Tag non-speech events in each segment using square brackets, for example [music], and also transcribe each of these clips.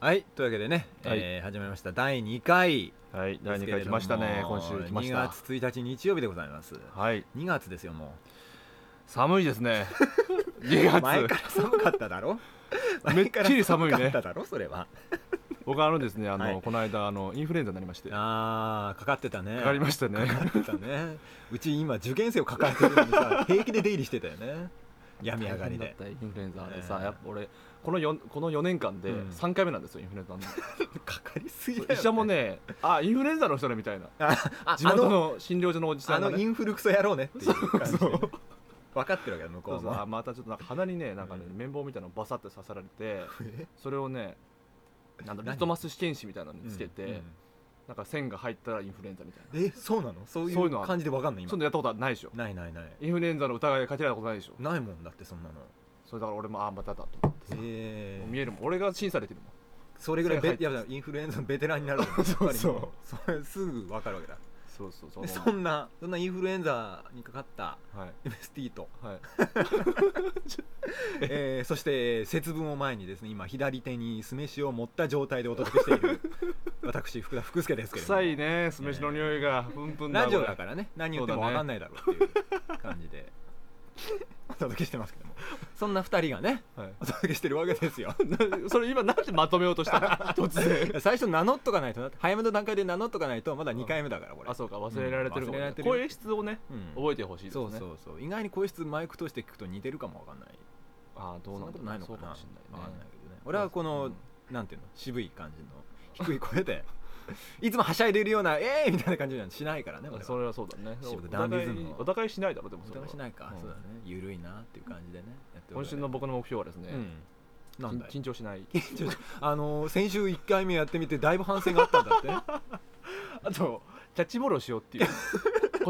はいというわけでね、はいえー始まりました第2回はい、で第す2けれ回ど来もましたね、今週来ました。 2月1日日曜日でございますはい、 2月ですよも寒いですね。2 [laughs] う前か月、ら寒かっただろ [laughs] めっきり寒い前ねから寒かっただろそれは僕あのですね、あの、はいこの間あのインフルエンザになりまして、かあーかかってたねかりましたね。かかってたねうち今受験生を抱えてるのに [laughs] さ平気で出入りしてたよね病み上がりで大変だったインフルエンザあれさ、ねえやっぱ俺この4この4年間でうん3回目なんですよ、インフルエンザ [laughs] にかかりすぎそうだよ医者もね、あインフルエンザの人ねみたいな。ああ地元の診療所のおじさあんがのイね。ンフルクソ野郎ねっていう感じでねそうそう分かってるわけよ向こそううそうあもまたちょっとなんか鼻にねなんかね、う綿棒みたいなのバサッて刺さられてえそれをねなんだ何リトマス試験紙みたいなのにつけて、うんうんなんか線が入ったらインフルエンザみたいなえそうなのそういそういううのは感じで分かんないそ今んなやったことはないでしょないないないインフルエンザの疑いがかけられたことないでしょないもんだってそんなのそれだから俺もああまただと思ってさ、えもうー見えるもん俺が審査できるもんそれぐらいそれべ入ってやだインフルエンザのベテランになるそう [laughs] そうそれすぐ分かるわけだそうそうそでうそんなそんなインフルエンザにかかったはいエ s t [laughs] と、はいえーそして節分を前にですね今左手に酢飯を持った状態でお届けしてい [laughs] る私福田福助ですけれども臭いね酢飯の匂いがプンプンだラジオだらからね何言ってもそう分だねかんないだろうっていう感じ [laughs] でお届けしてますけどもそんな2人がねはい [laughs] お届けしてるわけですよなそれ今なんでまとめようとした [laughs] 突然最初名乗っとかないとな早めの段階で名乗っとかないとまだ2回目だからこれあそうか忘れられてるうん忘れもんねられてるよ声質をねうん覚えてほしいですそねうそうそう意外に声質マイク通して聞くと似てるかもわかんないああどうなんだそんなことないのかそうかなもしれわなかんいねないけどね俺はこの、うんなんていうの渋い感じの低い声で [laughs] いつもはしゃいでいるようなええー、みたいな感じにはしないからね俺はそれはそうだねシブおダンディ互ズムいのお互いしないだろでもそれ疑はいしないか、うんそうだねゆるいなっていう感じでねやってお今く週の僕の目標はですうねんなんだよ緊張しない [laughs] ちょっとあのー先週1回目やってみてだいぶ反省があったんだって [laughs] あとキャッチボールをしよう [laughs] っていう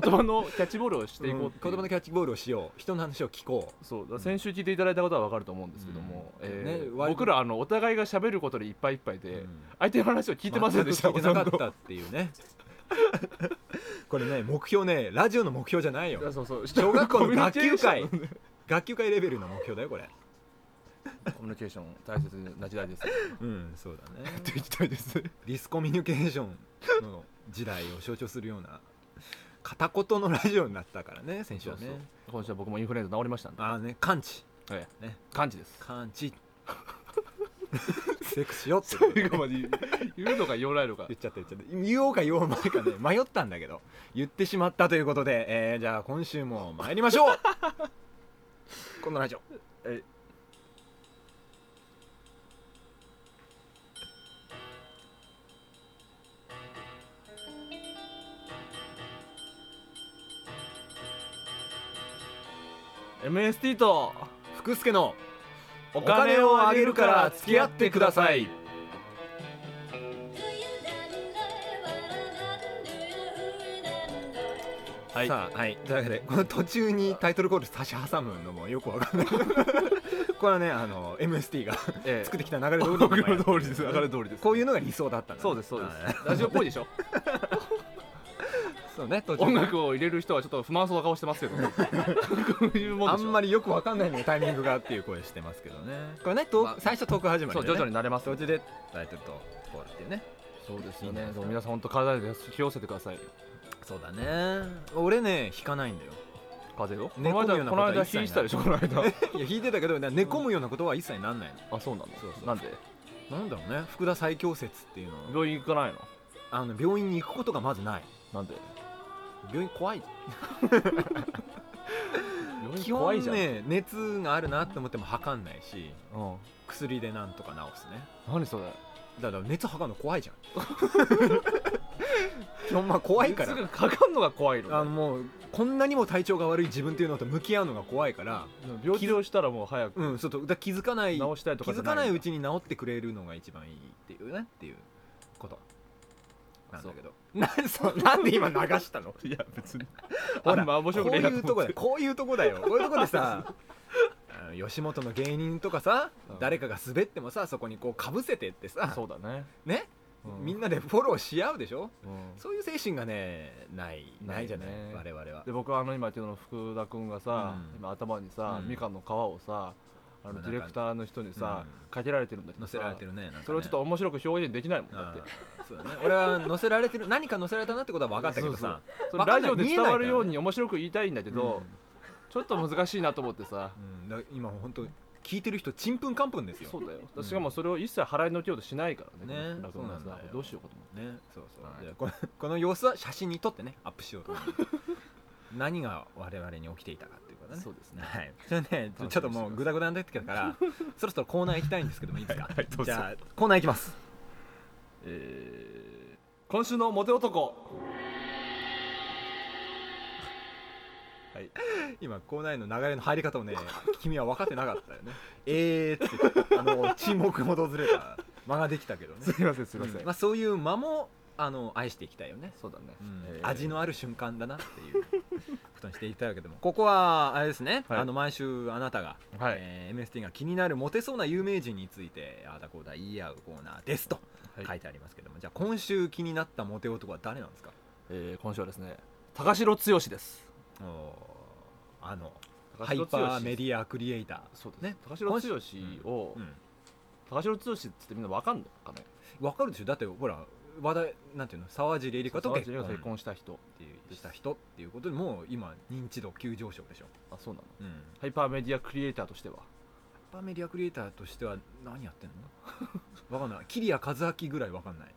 言葉のキャッチボールをしていこうっていう言葉のキャッチボールをしよう人の話を聞こそうだから先週聞いていただいたことは分かると思うんですけども、うんえねー割と、僕らあのお互いが喋ることでいっぱいいっぱいうで、うん相手の話を聞いてませんでした全く聞いてなかっほとんたっていうね [laughs] これね目標ねラジオの目標じゃない [laughs] どいやよ [laughs] そうそう小学校の学級会コミュニケーションね学級会レベルの目標だよこれコミュニケーション大切な時代です [laughs] やうんそうだねっていきたいですディスコミュニケーションの時代を象徴するような片言のラジオになったからね先週はねそうそう今週は僕もインフルエンザ治りましたんで、ああね完治ええね感じです完治 [laughs] セックスしようってこと最後まで言うのか言わないのか言っちゃって言っちゃって言おうか言おうまいかね迷ったんだけど言ってしまったということで、えーじゃあ今週も参りましょうこのラジオえい MST と福助のお金をあげるから付き合ってください Thank はいさあはいというわけでこの途中にタイトルコール差し挟むのもよくわかんない [laughs] これはねあの MST がええ作ってきた流れ通り僕に今やのって通るりです流れ通りですこういうのが理想だったんだねそうですそうではいすラジオっぽいでしょそうね途中音楽を入れる人はちょっと不満そうな顔してますけどこういうもんあでしょんまりよくわかんないのにタイミングがっていう声してますけどねこれね、トークまあ最初トーク始まりそうでね徐々に慣れます途中でタイトルとコールっていうねそうですよねそう皆さん本当体で気をつけてくださいそうだね俺ね引かないんだよ風邪をこ寝の込むよ間うなここのとは間一切ない火したでしょこの間 [laughs] いや引いてたけど寝込むようなことは一切なんない [laughs] あそうなのそうそうなんでのなんだろうね福田最強説っていうのを病院行かないのあの病院に行くことがまずないなんで病院怖い病基院怖い本じゃん、ね熱があるなと思っても測んないしうん、薬でなんとか治すね何それだから熱測るの怖い [laughs] じゃん基本まあ怖いから熱がかかんのが怖いのあのもうこんなにも体調が悪い自分っていうのと向き合うのが怖いから病気をしたらもう早くうんそうそうだから気づかない治したいと気かづかないうにちに治ってくれるのが一番いいっていうねっていうことなんだけどなんそうなんで今流した [laughs] のいや別にほらあんま面白くねえなこういうととこ思だってよこういうとこだ [laughs] よこういうとこでさあの吉本の芸人とかさ、うん誰かが滑ってもさそこにこうかぶせてってさそうだね、ね、うんみんなでフォローし合うでしょうんそういう精神がねないないないじゃないね我々はで僕はあの今言ってるの福田君がさ、うん今頭にさ、うんみかんの皮をさああのまあディレクターの人にさ、うんかけられてるんだけど載せさられてるねなんかねそれをちょっと面白く表現できないもんだあってーそうだね俺は載せられてる何か載せられたなってことは分かったけどさそれわかラんなジいオで見え伝ないからねわるように面白く言いたいんだけど、うんちょっと難しいなと思ってさうんだから今本当聞いてる人ちんぷんかんぷんですよそうだようんしかもそれを一切払いのけようとしないからねねこの落語そうなはんさだよどうしようかと思ってねそうそう、はいじゃあこのこの様子は写真に撮ってねアップしようと [laughs] 思って何が我々に起きていたかっていうことねそうですねはいそれでねちょちょっともうグダグダになってきたから [laughs] そろそろコーナー行きたいんですけどもいいですか、はいはいどうぞじゃあコーナー行きますえー今週のモテ男はい今コーナーへの流れの入り [laughs] 方をね君は分かってなかったよねえーってあの沈黙も [laughs] 訪れた間ができたけどねすいませんすいません、うんまあ、そういう間もあの愛していきたいよねそうだね、えー味のある瞬間だなっていう [laughs] ことにしていただけどもここはあれですね、はいあの毎週あなたが、はいえー MST が気になるモテそうな有名人についてあーだこうだ言い合うコーナーですとはい書いてありますけども、じゃあ今週気になったモテ男は誰なんですかえー今週はですね高城剛ですおーあのハイパーメディアクリエイタそうですねね高城剛を、ー、うん、高城剛ってみんなわかんのかねわかるでしょだってほら話題なんていうの沢尻エリカと高結城剛と婚結婚した人、っていうした人っていうことでもう今認知度急上昇でしょ、あそうなのうん、ハハイパーメディアクリエイターとしてはイパーメディアクリエイターとしては何やってんの [laughs] わかんない桐谷和明ぐらいわかんない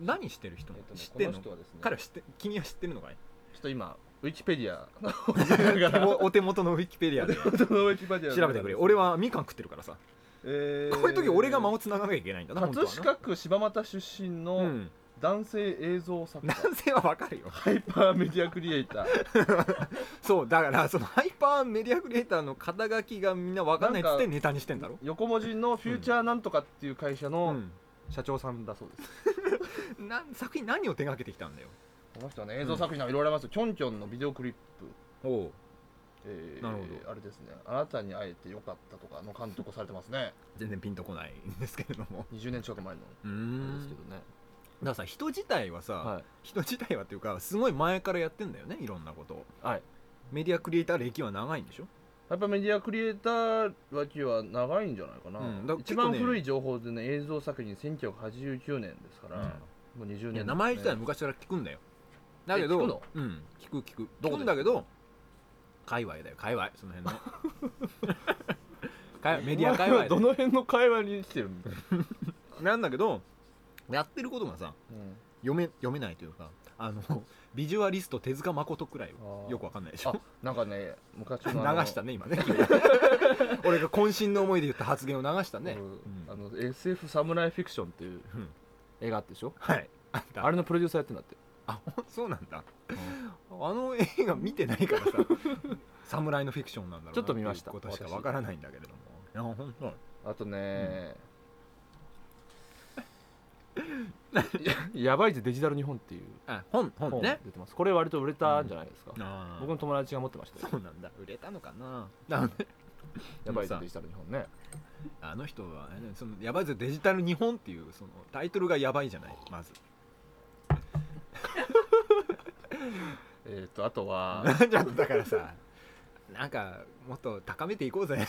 何してる人、えっとね知ってんこの人はですね彼は知って君は知ってるのかいちょっと今ウィキペディア [laughs] を見 [laughs] なが [laughs] らおお手元のウィキペディアでウィキペディア調べてくれ俺、はみかん食ってるからさ、えーこういう時俺が間をつながなきゃいけないんだな本当葛はな飾区柴又出身うのん男性映像作家、男性はわかるよハイパーメディアクリエイターそうだからそのハイパーメディアクリエイターの肩書きがみんなわかんないっつってネタにしてんだろ横文字のフューチャーなんとかっていう会社うのん社長さんだそうです、な作品何を手がけてきたんだよこの人はね映像作品はいろいろありますよ、キョンキョンのビデオクリップおうえー、なるほどあれですねあなたに会えてよかったとかの監督をされてますね全然ピンとこないんですけれども20年近く前のうー [laughs] あれんですけだどね、からさ人自体はさ、は人自体はっていうかすごい前からやってんだよねいろんなことをい、はい、メディアクリエイター歴は長いんでしょやっぱメディアクリエイター脇は長いんじゃないかな、うんだ一結構番ね古い情報でね映像作品1989年ですから、もう20年、いや名前自体は昔から聞くんだよだけどえ聞くのうん、聞く聞くどこで聞くんだけど界隈だよ界隈その [laughs] 辺の界隈メディア界隈どでの辺の会話に来てるんだ、なんだけどやってることがさ読め読めないというかあ [laughs] のビジュアリスト手塚誠くらいあーよくわかんないでしょあなんかね昔流のあのしたね今 [laughs] ね俺が渾身の思いで言った発言を流したね、うんうんあの SF サムライフィクションっていううん映画あってでしょはいあんたあれのプロデューサーやってんだってあほんそうなんだ、あの映画見てない [laughs] からさ侍のフィクションなんだろうなちょっと見ましたっていうことしかわからないんだけれどもいや本当あとね、ややばいぜデジタル日本っていうあ本本本ね出てますこれ割と売れたんじゃないですか、あー僕の友達が持ってましたよそうなんだ売れたのかななのでやばいぜうんさデジタル日本ねあの人はあれだよそのやばいぜデジタル日本っていうそのタイトルがやばいじゃないまずえっ、とあとはじゃあだから [laughs] さなんかもっと高めていこうぜ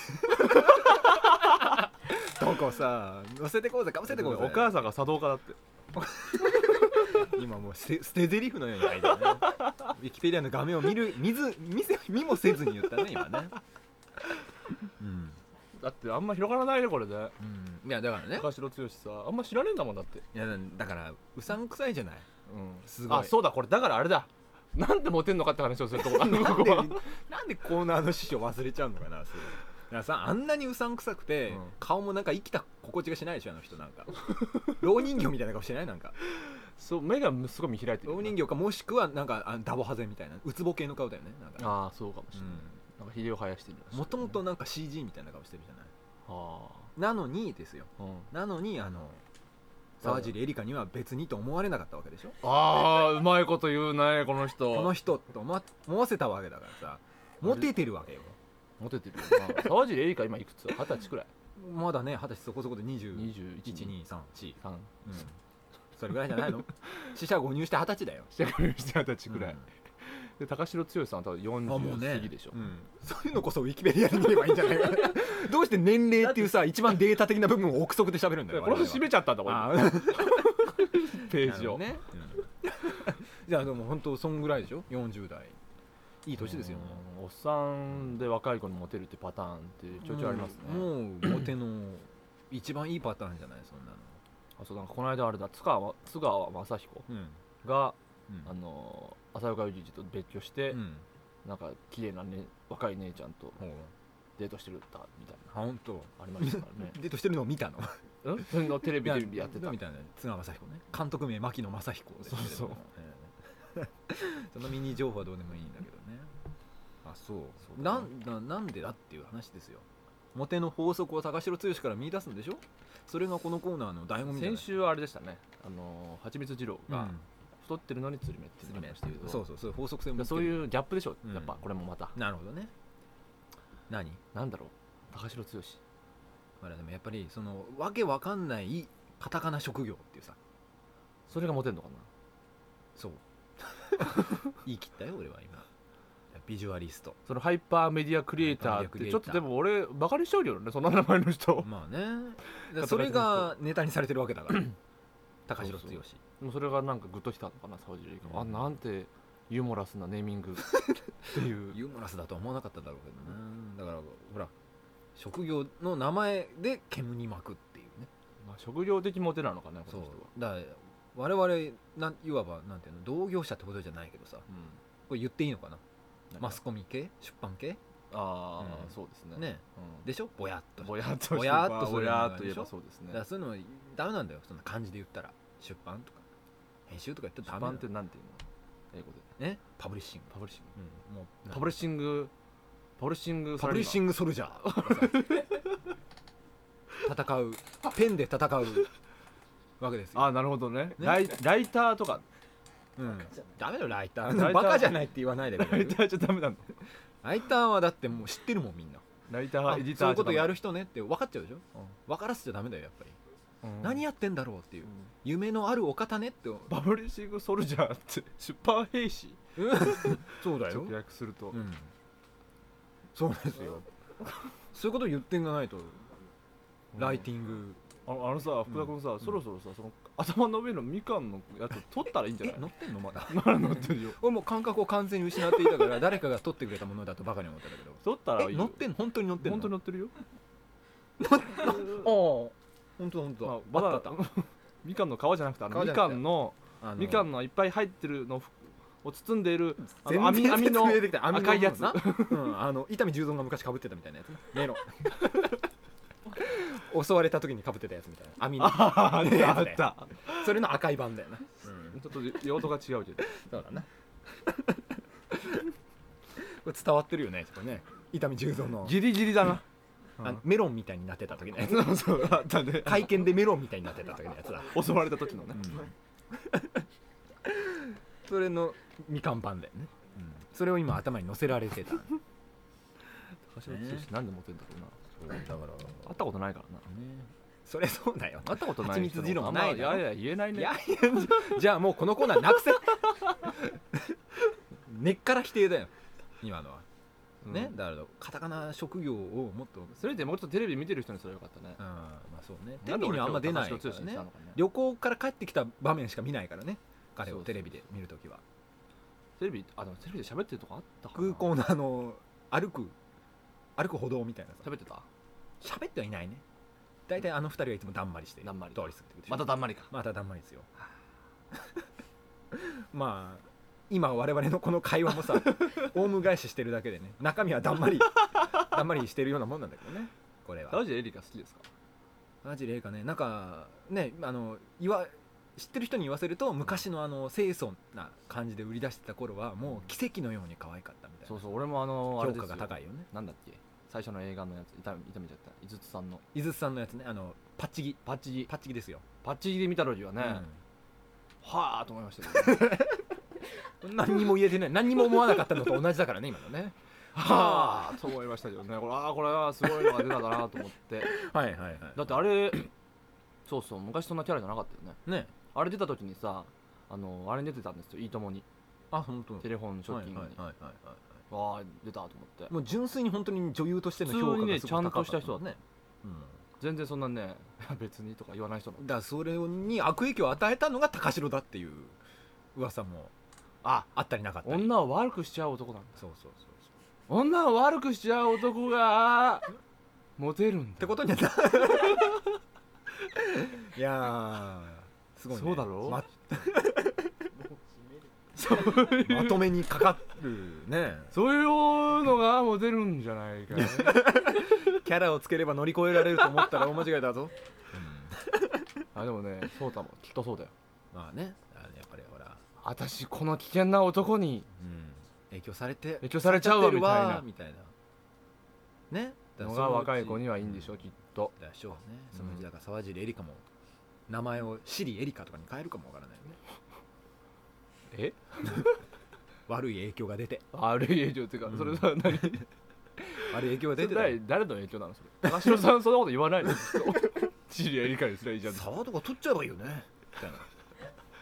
どこさ乗せてこうぜかぶせてこうぜ [laughs] お母さんが茶道家だって今もう捨て捨て台詞のように書いてるねウィキペディアの画面を見る見ず見せ見もせずに言ったね今ねうん、だってあんま広がらないねこれでいやだからね高城剛さあんま知らねえんだもんだって、いやだからうさんくさいじゃないうんすごいあそうだこれだからあれだなんでモテんのかって話をするとこだここではなんでコーナーの師匠忘れちゃうのかなそれだからさあんなにうさんくさくて、うん顔もなんか生きた心地がしないでしょあの人なんか老人形みたいな顔してないなんかそう目がすごい見開いてる老人形かもしくはなんかあのダボハゼみたいなうつぼ系の顔だよねなんかああそうかもしれない、なんかひげを生やしてるもともとなんか CG みたいな顔してるじゃないあなのにですよあ、うん、なのにあの沢尻エリカには別にと思われなかったわけでしょあーうまいこと言うねこの人この人と思わ思わせたわけだからさモテてるわけよモテてるよな沢尻エリカ今いくつ二十歳くらいまだね二十歳そこそこで21234 21 2 1 3うん [laughs] それぐらいじゃないの死者誤入して二十歳だよしてくれる人二十歳ぐくららい、いで高城剛さんは多分40過ぎでしょ、うん、そういうのこそウィキペディアで見ればいいんじゃないかなどうして年齢っていう [laughs] さ一番データ的な部分を憶測で喋るんだだよからこの人閉めちゃったんだこれあーペなーるジほどを、ね、 [laughs] じゃあでも本当そんぐらいでしょ40代いい年ですよねうんおっさんで若い子にモテるってパターンってちょいちょいありますね、うんもうモテの一番いいパターンじゃないそんなあそうなんかこの間あれだ津川津川雅彦のが、うんあのー浅岡裕二と別居して、うんなんか綺麗なね若い姉ちゃんとほうデートしてるったみたいあ本当なありましたからねデートしてるのを見 [laughs] たのうんそれのテレビでやってたみたいな津川雅彦ね監督名牧野正彦ですけれどもそうそうええ [laughs] そのミニ情報はどうでもいいんだけどねあそうそうだなねんななんでだっていう話ですよモテの法則を高城剛から見出すんでしょそれがこのコーナーの醍醐味じゃな先い週はあれでしたねあのーはちみつ二郎うがん太ってるのにつり目っていうのがありましたけどそうそうそう法則性もそうういうギャップでしょうんやっぱこれもまた、なるほどね何なんだろう高城剛あれでもやっぱりそのわけわかんないカタカナ職業っていうさそれがモテるのかな [laughs] そう言い切ったよ俺は今ビジュアリストそのハイパーメディアクリエイターっハイパーメディアクてリエイちタょーっとでも俺バカにしちゃうよねその名前の人まあね人それがネタにされてるわけだから高城剛そうでもそれがなんかグッときたのかな沢尻が、あうんなんてユーモラスなネーミ [laughs] ングっていうユーモラスだとは思わなかっただろうけどねだからほら職業の名前で煙に巻くっていうねまあ職業的モテなのかねこそのう人は、だから我々なんいわばなんていうの同業者ってことじゃないけどさうんこれ言っていいのかななんかマスコミ系出版系ああ、うんそうですねねうんでしょぼやっとぼやっとぼやっとすぼるやっと言えでしょばそうですねだからそういうのはダメなんだよそんな漢字で言ったら出版とか編集とか言ったら出ダメなん版っだてよなんていうの英語でねパブリッシングパブリッシングうんもうパブリッシングパブリッシングパブリッシングングソルジャーとかさ戦うペンで戦うわけですよ、あーなるほどねライライターとかうん、ダメだよライターライターバカじゃないって言わないでくラれイるターじゃダメなんだライターはだってもう知ってるもんみんなライターあエディターそういうことやる、る人ねって分かっちゃうでしょ分からせちゃダメだよやっぱり、うん何やってんだろうっていううん夢のあるお方ねってパブリッシングソルジャーって出版兵士 [laughs] そうだよ直訳すると、うん、そうですよそういうことを言ってんがないと、ライティングィングあのあのさ福田君さ、んそろそろさその頭の上のみかんのやつ取ったらいいんじゃなえい乗ってんのまだまだ乗ってるよ俺もう感覚を完全に失っていたから誰かが取ってくれたものだとバカに思ったんだけど [laughs] 取ったらいいえよ乗ってんの本当に乗ってんの本当に乗って [laughs] るよああ [laughs] 本当だ本当だ、まあ、まだ [laughs] みかんの皮じゃなくてあの皮みじゃなかくてんのあのみかんのいっぱい入ってるのをを包んでいるあの全網然網説の明できた網の赤いやつな、 [laughs] うん、あの伊丹十三が昔かぶってたみたいなやつねメロン [laughs] 襲われた時にかぶってたやつみたいな網のあーあったあっそれの赤い版だよな、たちょっと用途が違うけどそうだな [laughs] これ伝わってるよねこれね伊丹十三のギリギリだなあのメロンみたいになってた時のやつそうそうあったね会見でメロンみたいになってた時のやつだ、襲われた時のね、それのみかんパンだよね、それを今頭に乗せられてただか高橋の剛なんでモテんだろうならね会ったことないからなそれそうだよ会ったことない蜂蜜二郎もないだだろろいやいや言えないねいやいやじゃあもうこのコーナーなくせ根っから否定だよ今のは、うんねだからカタカナ職業をもっとそれでもうちょっとテレビ見てる人にそれよかったねうんまあそうねテなレんでビ俺にはあんま出ない今か日ら高橋剛にしねたのかね旅行から帰ってきた場面しか見ないからね彼をそうそうテレビで見るときはテレビあでもテレビで喋ってるとこあったかな空港のあの歩く歩く歩道みたいなさ喋ってた喋ってはいないね大体あの二人はいつもだんまりしてだんまり通り過ぎてくでしょまただんまりかまただんまりですよ [laughs] まあ今我々のこの会話も [laughs] さオウム返ししてるだけでね中身はだんまりだんまりしてるようなもんなんだけどねこれはダジエリカ好きですかマジ霊かねなんかねあの言わ知ってる人に言わせると昔のあの清楚な感じで売り出してた頃はもう奇跡のように可愛かったみたいそなうそう俺もあのあれ評です価よが高いよねなんだっけ最初の映画のやつ痛め痛めちゃった井筒さんの井筒さんのやつねあのパッチギパッチギパッチギですよ、パッチギで見た時はね、うんはあと思いましたけどね何にも言えてない何にも思わなかったのと同じだからね今のね [laughs] はあと思いましたけどねこれああこれはすごいのが出たかなと思ってはいはいはいだってあれ [clears throat] そうそう昔そんなキャラじゃなかったよねねあれ出た時にさあのあれに出てたんですよ「いいとも」にあ本当テレフォンショッキングに、はいはいはいはいはわあ出たと思っていもう純粋に本当に女優としての評価がすごく高かった普通にねちゃんとした人だったね、うん、全然そんなね [laughs] 別にとか言わない人なのだからそれに悪影響を与えたのが高城だっていう噂もああったりなかったり女を悪くしちゃう男なんだそうそうそうそう女を悪くしちゃう男がモテるんだってことになった [laughs] いやーすごい、ね、そうだろうままとめにかかるねそういうのがモテるんじゃない [laughs] かいキャラをつければ乗り越えられると思ったら大間違いだぞ、あでもねそうだもんきっとそうだよまあねあのやっぱりほら、私この危険な男にうん、影響されて影響されちゃうわみたいなみたいなねのが若い子にはいいんでしょううきっとだしょうねうんそのうちだから沢尻エリカも名前をシリエリカとかに変えるかもわからないよねえ悪い影響が出て悪い影響っていうか、うんそれさ何そ悪い影響がれ出てたよ誰誰の影響なのそれ高城さんそんなこと言わないの [laughs] 知り合い理解すりゃいいじゃん沢とか取っちゃえばいいよねみたいな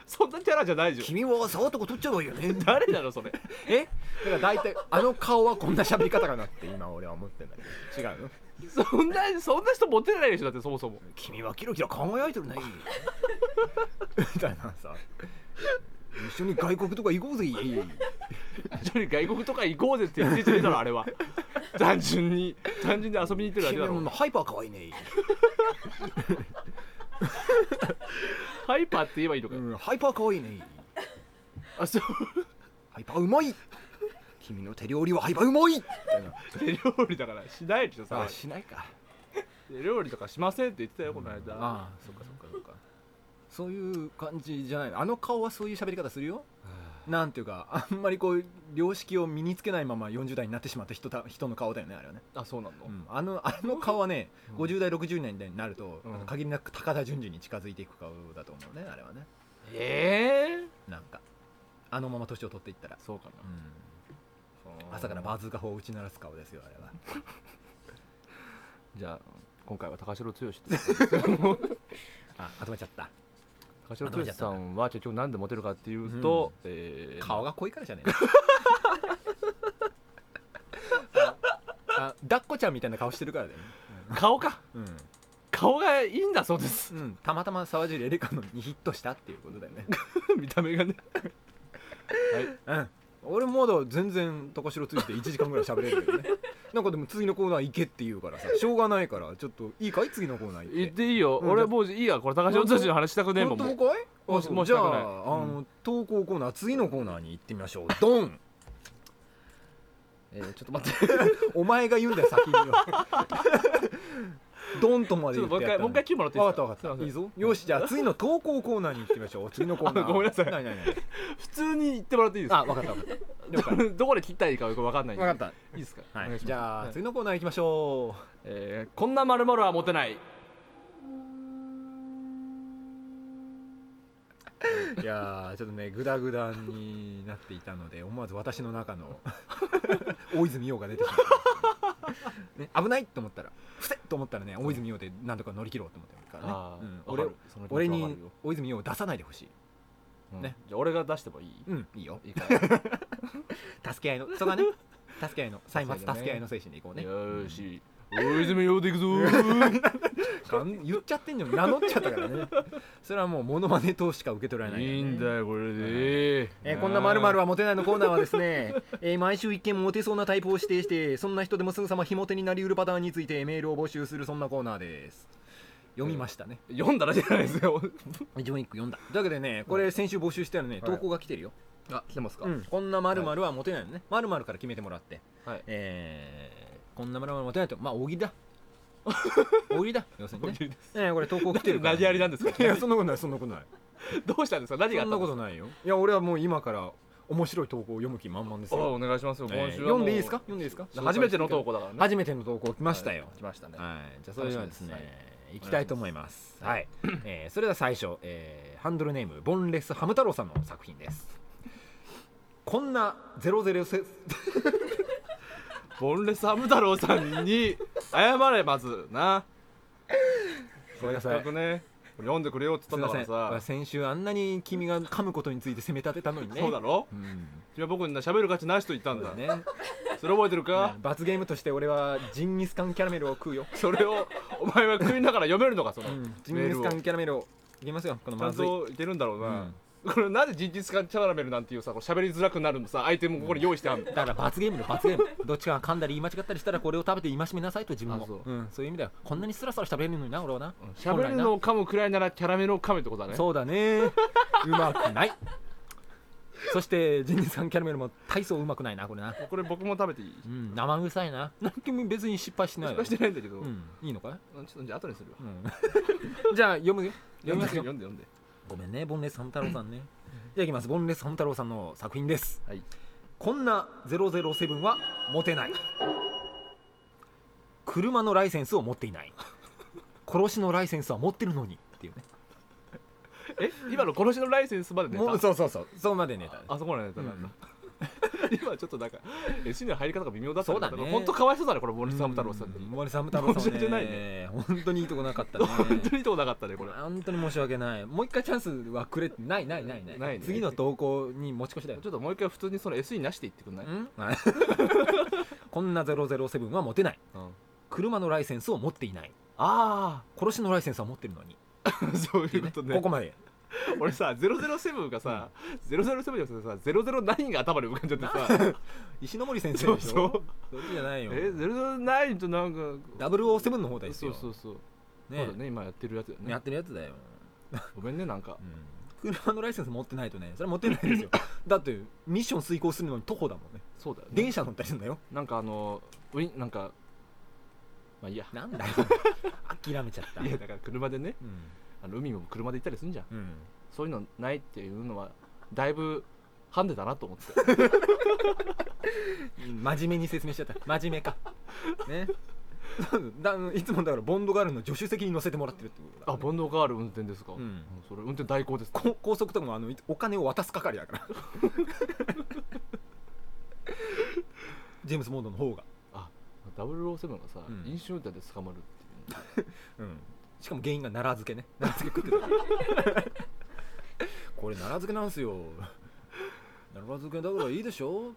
そんなキャラじゃないじゃん君は沢とか取っちゃえばいいよ [laughs] ねだか誰なのそれら大体あの顔はこんな喋り方かなって今俺は思ってんだけど違うのそんなそんな人モテないでしょだってそもそも君はキラキラ輝いてるねみたいなさ一緒に外国とか行こうぜ一人外国とか行こうぜって言ってたのあ [laughs] れは単純に単純に遊びに行ってるだけ君だろはハイパー可愛いねハイパーって言えばいいのかよ、うんハイパー可愛いね [laughs] あそうハイパーうまい君の手料理はハイパーうまいみたいな手料理だからしないでしょさしないか手料理とかしませんって言ってたよこの間ああそっかそっかそっかそういう感じじゃないのあの顔はそういう喋り方するよなんていうかあんまりこう良識を身につけないまま40代になってしまった人た人の顔だよねあれはね、あそうなの、うんあのあの顔はね、うん50代60年代になると、うんあの限りなく高田純次に近づいていく顔だと思うねあれはねええなんかあのまま年を取っていったら、そうかなうん、朝からバズーカ砲を打ち鳴らす顔ですよあれはじゃあ今回は高城剛 [laughs] って [laughs] あまとめちゃった高城剛さんは結局何でモテるかっていうと、え [laughs] ー顔が濃いからじゃねえの [laughs] ああ抱っこちゃんみたいな顔してるからだよね顔かうん顔がいいんだそうです [laughs] うん、たまたま沢尻エリカのにヒットしたっていうことだよね見た目がねうん俺まだ全然高城ついて1時間ぐらい喋れるけどね [laughs] なんかでも次のコーナー行けって言うからさしょうがないからちょっといいかい次のコーナー行って言っていいよ、うん俺もういいやこれ高城剛の話したくねえも本ん当もうかいもうあもうじゃあしたくないあの、投稿コーナー次のコーナーに行ってみましょうドン [laughs] えーちょっと待って [laughs] お前が言うんだよ先には [laughs] ドンとまでちょ言っとってやったもう一回もう一回聞いてもらっていい分かでっすた分かかったすませんいいぞよしじゃあ次の投稿コーナーに行ってみましょう次のコーナー [laughs] ごめんなさいないないない普通に言ってもらっていいですかあ分かった分かった了解どこで切ったらいいかよく分かんないんで分かっいいですか、た、はお願い、しますじゃあ、はい次のコーナー行きましょうえーこんなまるはモテないいやーちょっとねグダグダになっていたので思わず私の中 [laughs] の大泉洋が出てしまった、ね、危ないと思ったら伏せと思ったらね大泉洋でなんとか乗り切ろうと思ってるからあねうー、ん、わ俺かるその気持ち俺わかにるよ大泉洋を出さないでほしいうんねじゃあ俺が出してもいい、うんいいよいいから助け合いのそこはね助け合い [laughs] の歳末そうだね助け合いの精神でいこうねよーし大泉洋でいくぞーかん言っちゃってんのに名乗っちゃったからね [laughs] それはもうモノマネとしか受け取られないからね、いいんだよこれで、えーこんなまるはモテないのコーナーはです [laughs] ね、えー毎週一見モテそうなタイプを指定してそんな人でもすぐさまひも手になりうるパターンについてメールを募集するそんなコーナーです読みましたね読んだらじゃないですよ一文一句読んだだけでねこれ先週募集したらねはい投稿が来てるよ、あ来てますか、うんこんなまるはモテないのねまるから決めてもらって、はいえーこんなまるはモテないとまあ大喜利 [laughs] だ大喜利だ要するに大ね喜利ですえーこれ投稿来てるから、投げやりなんですかいやそんなことないそんなことないどうしたんですか何があそんったなんこですとないよいや俺はもう今から面白い投稿を読む気満々ですかよおお願いしますよ今週はえーもう、読んでいいですか読んでいいですか初めての投稿だからね初めての投稿来ましたよはい来ましたね、はいじゃあそれではですね楽しみ行きたいと思いますお願はいいえーそれでは最初えーハンドルネームボンレスハム太郎さんの作品ですこんな00せ [laughs] ボンレスハム太郎さんに謝れまずなごめんなせさいっかくね読んでくれよってすい言ったまんせだんからさ先週あんなに君が噛むことについて責め立てたのにねそうだろうんいや僕にな喋る価値なしと言ったそんうだだねそれ覚えてるかうん罰ゲームとして俺はジンギスカンキャラメルを食うよ、それをお前は食いながら読めるのかそのジンギスカンキャラメルをいきますよこのちゃまんずいといけるんだろううなんこれなぜジンギスカンチャラメルなんていうさこれ喋りづらくなるのさアイテムここに用意してあるだから罰ゲームだよ [laughs] 罰ゲームどっちかが噛んだり言い間違ったりしたらこれを食べて戒めなさいと自分も、あそうんそういう意味だよこんなにスラスラ喋れるのにな俺はな、本喋来るなのを噛むくらいならキャラメルを噛めってことだねそうだねうまくない [laughs] そしてジンギスカンキャラメルも大層うまくないなこれな、これ僕も食べていいうん、生臭いななんか別に失敗しないよ失敗してないんだけどうん、いいのかい、うんちょっとじゃあ後にするわ [laughs] うんじゃあ読むよ読みますよ読んで読んでごめんね、ボンレスハム太郎さんね。じゃあいきます、ボンレスハム太郎さんの作品です。はいこんな007は持てない。車のライセンスを持っていない。殺しのライセンスは持ってるのに。っていうね。え今の殺しのライセンスまで出もうたそうそうそう、そこまでネタです。あそこまでネタなんだ [laughs] 今ちょっとなんか SC の入り方が微妙だったそうだね本当かわいそうだねこれ森さん太郎さんにうんボンレスハム太郎さん申し訳ないね。本当にいいとこなかったね。本当にいいとこなかったねこれ本当に申し訳ない。もう一回チャンスはくれないないないない。ないね次の投稿に持ち越しだよち。ょっともう一回普通にその SE なしで言ってくんない、はい [laughs] こんな007は持てない。あ車のライセンスを持っていない。あ殺しのライセンスは持ってるのに、ー [laughs] そういうことねここまで俺さ007がさ、007じゃなくてさ009が頭に浮かんじゃってさ石ノ森先生そうでしょそうそっちじゃないえよ009となんか007の方ですそようそうそう、ねそうだね今やってるやつだよねやってるやつだよ、ごめんねなんかうん、車のライセンス持ってないとねそれは持ってない [laughs] ですよだってミッション遂行するのに徒歩だもんねそうだよね電車乗ったりするんだよなんかあのウィンなんかまあいいやなんだよ諦めちゃった [laughs] いやだから車でねうんあの海も車で行ったりするんじゃんうんそういうのないっていうのはだいぶハンデだなと思って [laughs] 真面目に説明しちゃった真面目かねだいつもだからボンドガールの助手席に乗せてもらってるってことだあボンドガール運転ですか、うんそれ運転代行ですこ高速とかもあのお金を渡す係だから [laughs] ジェームス・モンドの方が、 007がさ、うん飲酒運転で捕まるっていううん、しかも原因が奈良漬けね奈良漬け食ってたから [laughs] これ奈良漬けなんすよ奈良漬けだからいいでしょ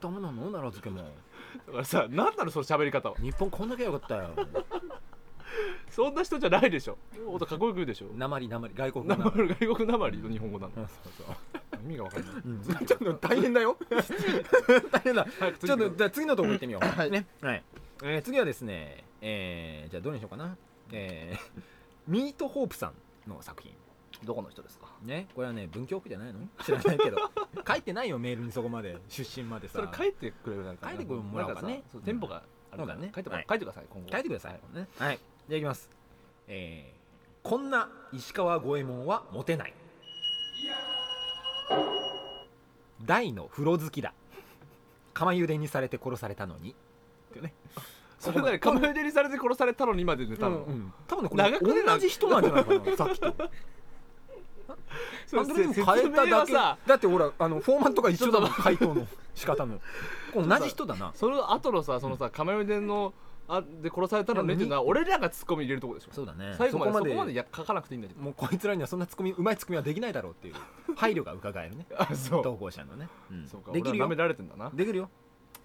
ダメなの奈良漬けもだからさ何なのその喋り方は日本こんだけよかったよそんな人じゃないでしょもっとかっこよく言うでしょなまりなまり外国ななままりる外国なまりの日本語なのうんそうそう意味がわかんないうんちょっと大変だよ [laughs] 大変だ早くちょっとじゃあ次のとこ行ってみよう。はい。ね。はい。えー次はですね、えーじゃあどれにしようかな。えーミートホープさんの作品。どこの人ですかね。これはね、文京区じゃないの知らないけど。 [laughs] 書いてないよ、メールにそこまで。出身までそれさ。書いてくれるなんか書いてくれもらおうかねなんさそうテンポがあるからそうだね書いてもらはい書いてください今後書いてください。ね。はい。じゃあいきます。えーこんな石川五右衛門はモテない。大の風呂好きだ。釜茹でにされて殺されたのに。っていうね。それなり釜茹でにされて殺されたのに今で寝たの、うん多分ねこ長くねれ同じ人なんじゃないかなさっきとそハれンドルに説も変えた明だはけさだってほらあのフォーマットが一緒だもん回答の仕方もこれ同じ人だなその後のさそのさ釜茹でのあで殺されたのねっていうのは俺らがツッコミ入れるとこでしょそうだね最後までそこまでそこまいでや書かなくていいんだけどもうこいつらにはそんなツッコミうまいツッコミはできないだろうっていう配慮が伺えるね [laughs] あそう投稿者のね、うんそうかできる俺はよ舐められてんだなできるよ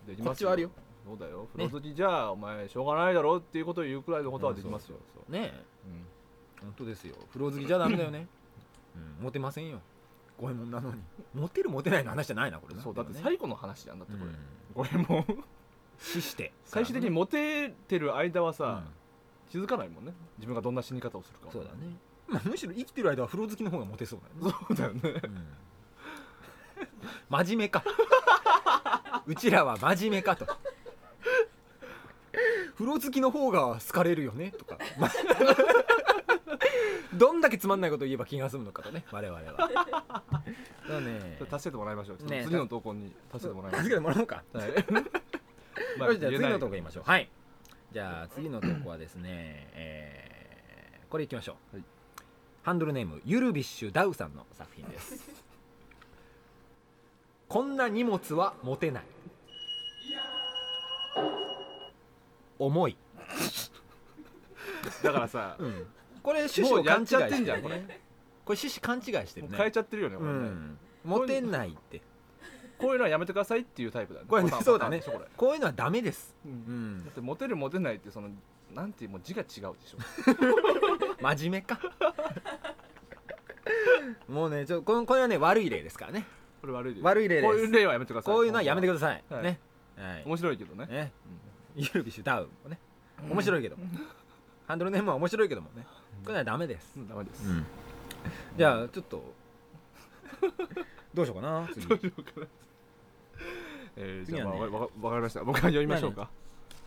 できこっちはあるよそうだよ風ね呂好きじゃあお前しょうがないだろっていうことを言うくらいのことはできますよねえうん本当ですよ風呂好きじゃダメだよね、うん、モテませんよ五右衛門なのにモテるモテないの話じゃないなこれなそうだってね最後の話じゃんだってうこれんこれ [laughs] もう死して最終的にモテてる間はうんさ気づかないもんね自分がどんな死に方をするかそうだね、まあ、むしろ生きてる間は風呂好きの方がモテそうだよね、そうだよね真面目 [laughs] かうちらは真面目かと風呂好きの方が好かれるよねとか [laughs] まあどんだけつまんないこと言えば気が済むのかとね我々はだ [laughs] からね助けてもらいましょうちょっとね次の投稿に助けてもらいましょう助けてもらおうか [laughs] はい。。よしじゃあ次の投稿いきましょうはいいじゃあ次の投稿はですね、えーこれいきましょう、はいハンドルネームゆるびっしゅダウさんの作品です [laughs] こんな荷物は持てない重い、 [laughs] だからさ、これ趣旨を勘違いしてもうやっちゃってんじゃんるこれねこれ趣旨勘違いしてもるう変えねちゃってるよね、うこれねんモテないってこういうのはやめてくださいっていうタイプだねこれねパターンそうだねパターンでしょここういうのはダメですれううんんだってモテるモテないってそのなんていうもう字が違うでしょ真面目かもうねちょこのこれはね悪い例ですからねこれ悪いです悪い例ですこういう例はやめてくださいこういうのはやめてくださいはいねはい面白いけどねねユービッシュダウンもね面白いけどハンドルネームは面白いけどもねこれはダメですうんダメです、じゃあちょっとどうしようかな次どうしようかなえー、次じゃはあねまあわかわかわかりました僕は読みましょうか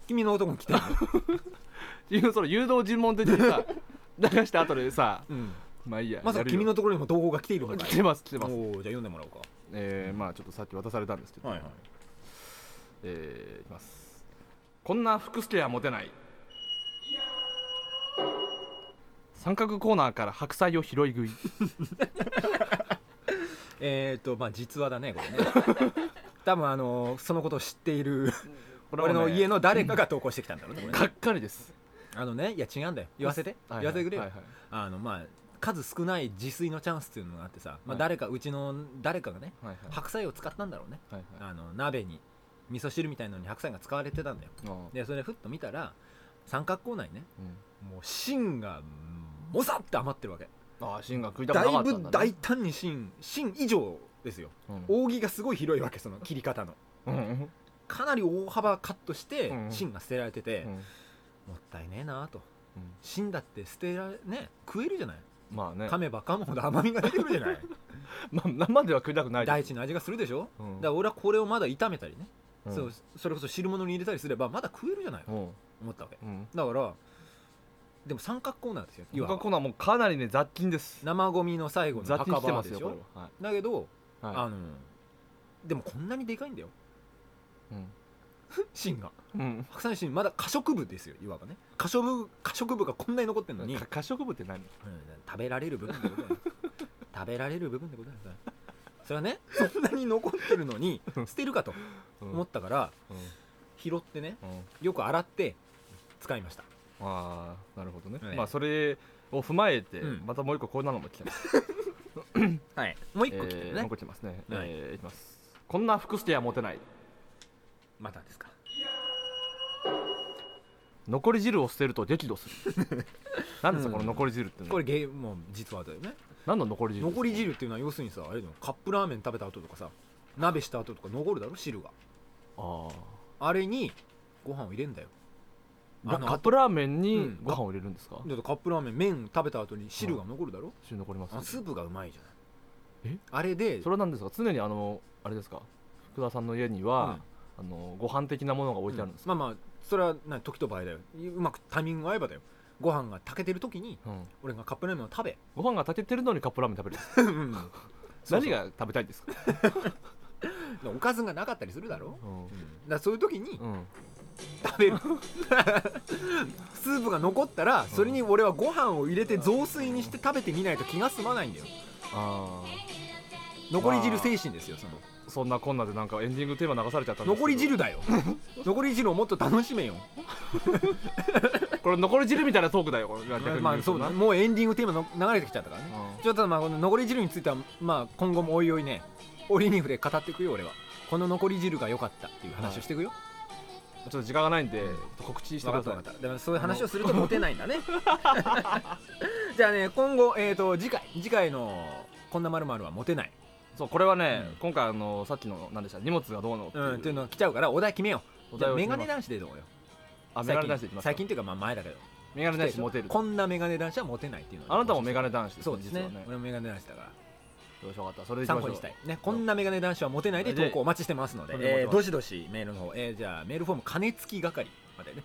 君の男に来てるっていうその誘導尋問的にさ流した後でさの、うん、まあいいやまさやかるよ君のところにも動画が来ているのかい来てます来ておますーじゃあ読んでもらおうかえー、まあちょっとさっき渡されたんですけど、はいはいえー、いきますこんな福助はモテない三角コーナーから白菜を拾い食いえっ、ー、とまあ実話だねこれね多分あのーそのことを知っているこ俺の家のの誰かが投稿してきたんだろうねこれねがっかりですあのねいや違うんだよ言わせて、はいは言わいせてくれよ、はいはいあのまあ数少ない自炊のチャンスっていうのがあってさ、まはあ、い誰かうちの誰かがねはいはい白菜を使ったんだろうねはいはいあの鍋に味噌汁みたいのに白菜が使われてたんだよあーでそれふっと見たら三角コーナーにねうんもう芯がうんもさって余ってるわけあー芯が食いたくなだかいったぶんだ、大ね、胆に芯芯以上ですよぶ扇がすごい広いわけその切り方のうんうんかなり大幅カットしてうん芯が捨てられてて、うんもったいねえなとうん芯だって捨てられね食えるじゃないまあね噛めば噛むほど甘みが出てくるじゃ [laughs] ないまあ生では食いたくない大地の味がするでしょうんだから俺はこれをまだ炒めたりね、うんそうそれこそ汁物に入れたりすればまだ食えるじゃないうん思ったわけうんだからでも三角コーナーですよ要コはコーナーもうかなりね雑菌です生ゴミの最後の雑菌墓して場まですしよょこれはだけど、はいあのでもこんなにでかいんだよ [laughs] はい芯がうん白菜の芯まだ可食部ですよいわばね可食部可食部がこんなに残ってるのに、か可食部って何うん食べられる部分ってことだよ食べられる部分ってことだよそれはねそんなに残ってるのに捨てるかと思ったからうん拾ってねうんよく洗って使いましたああなるほどねはいまあそれを踏まえてうんまたもう一個こんなのも来てますはいもう一え個来てーるもうね一、個来てますねはいえーいきますこんな服捨てはモテないまたですか残り汁を捨てると激怒する [laughs] なんですかこの残り汁ってのはこれゲームも実はだよね何の残り汁ですか残り汁っていうのは要するにさあれだよカップラーメン食べた後とかさ鍋した後とか残るだろ汁がああれにご飯を入れんだよああのカップラーメンにうんご飯を入れるんですかだってカップラーメン麺食べた後に汁が残るだろ、一緒に残りますあスープがうまいじゃないえあれでそれは何ですか常にあのあれですか福田さんの家には、あのご飯的なものが置いてあるんですか、まあまあそれはな時と場合だようまくタイミングが合えばだよご飯が炊けてる時にうん俺がカップラーメンを食べご飯が炊けてるのにカップラーメン食べるんですかうんそうそう何が食べたいんですか、 [laughs] おかずがなかったりするだろ、ううんんだからそういう時にうん食べる [laughs] スープが残ったらそれに俺はご飯を入れて雑炊にして食べてみないと気が済まないんだよあ残り汁精神ですよそのーそんなこんなでなんかエンディングテーマ流されちゃったんですけ残どり汁だ [laughs] よ残り汁をもっと楽しめよこれ残り汁みたいなトークだよこれ逆に言とまあそうだうんもうエンディングテーマの流れてきちゃったからねちょっとまあこの残り汁についてはまあ今後もおいおいね折に触れ語っていくよ俺はこの残り汁が良かったっていう話をしていくよ、ちょっと時間がないんで告知して分くかだった分かさいっただからそういう話をするとモテないんだ [laughs] ね [laughs] じゃあね今後えー、と次回次回の「こんなまるはモテない」そうこれはね、うん今回あのさっきの何でした荷物がどうのっていう,、うん、っていうのが来ちゃうからお題決めようおじゃ題あをメ決めガネ男ます子でどうよあメガネ男子でいきますか最近っていうかまあ前だけどメガネ男子モテるこんなメガネ男子はモテないっていうのあなたもメガネ男子ですそうですね実はね俺もメガネ男子だからよしわかったそれでいきま参しょ考うにしたい、ね、こんなメガネ男子はモテないで投稿お待ちしてますので、でえーどしどしメールの方、えーじゃあメールフォーム金付き係までね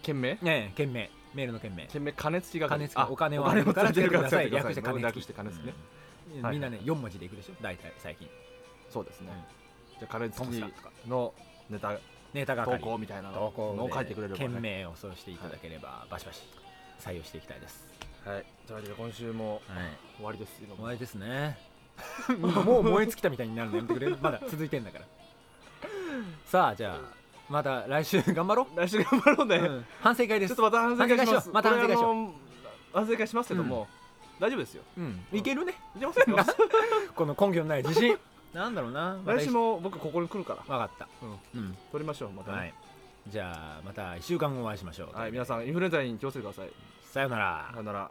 件名ねえ件名メールの件名件名加熱費が金付きお金をお金払うをから使つけっててるくだからさ使いい略して金付略きして金付きね、うんはいみんなね4文字でいくでしょ大体最近そうですね、うんじゃあ加熱トンス費タとかのネタネタ投係稿みたいなの投稿を書いてくれれば、ね、件名をそうしていただければ、バシバシ採用していきたいですはいというわけで今週もはい終わりです今終わりです [laughs] ねもう燃え尽きたみたいになるのやめてくれるまだ続いてんだからさあじゃあまた来週頑張ろ来週頑張ろうね、う、うん反省会でちすょっとまた反省会しま反省会しようすまた反省会しようこれあの反省会しますけども、大丈夫ですようんいけるねいけま [laughs] すよこの根拠のない自信 [laughs] なんだろうな来週も僕ここに来るから分かったうん、撮りましょうまたね、はいじゃあまた1週間後お会いしましょうはい、皆さんインフルエンザに気をつけてくださいさようならさよなら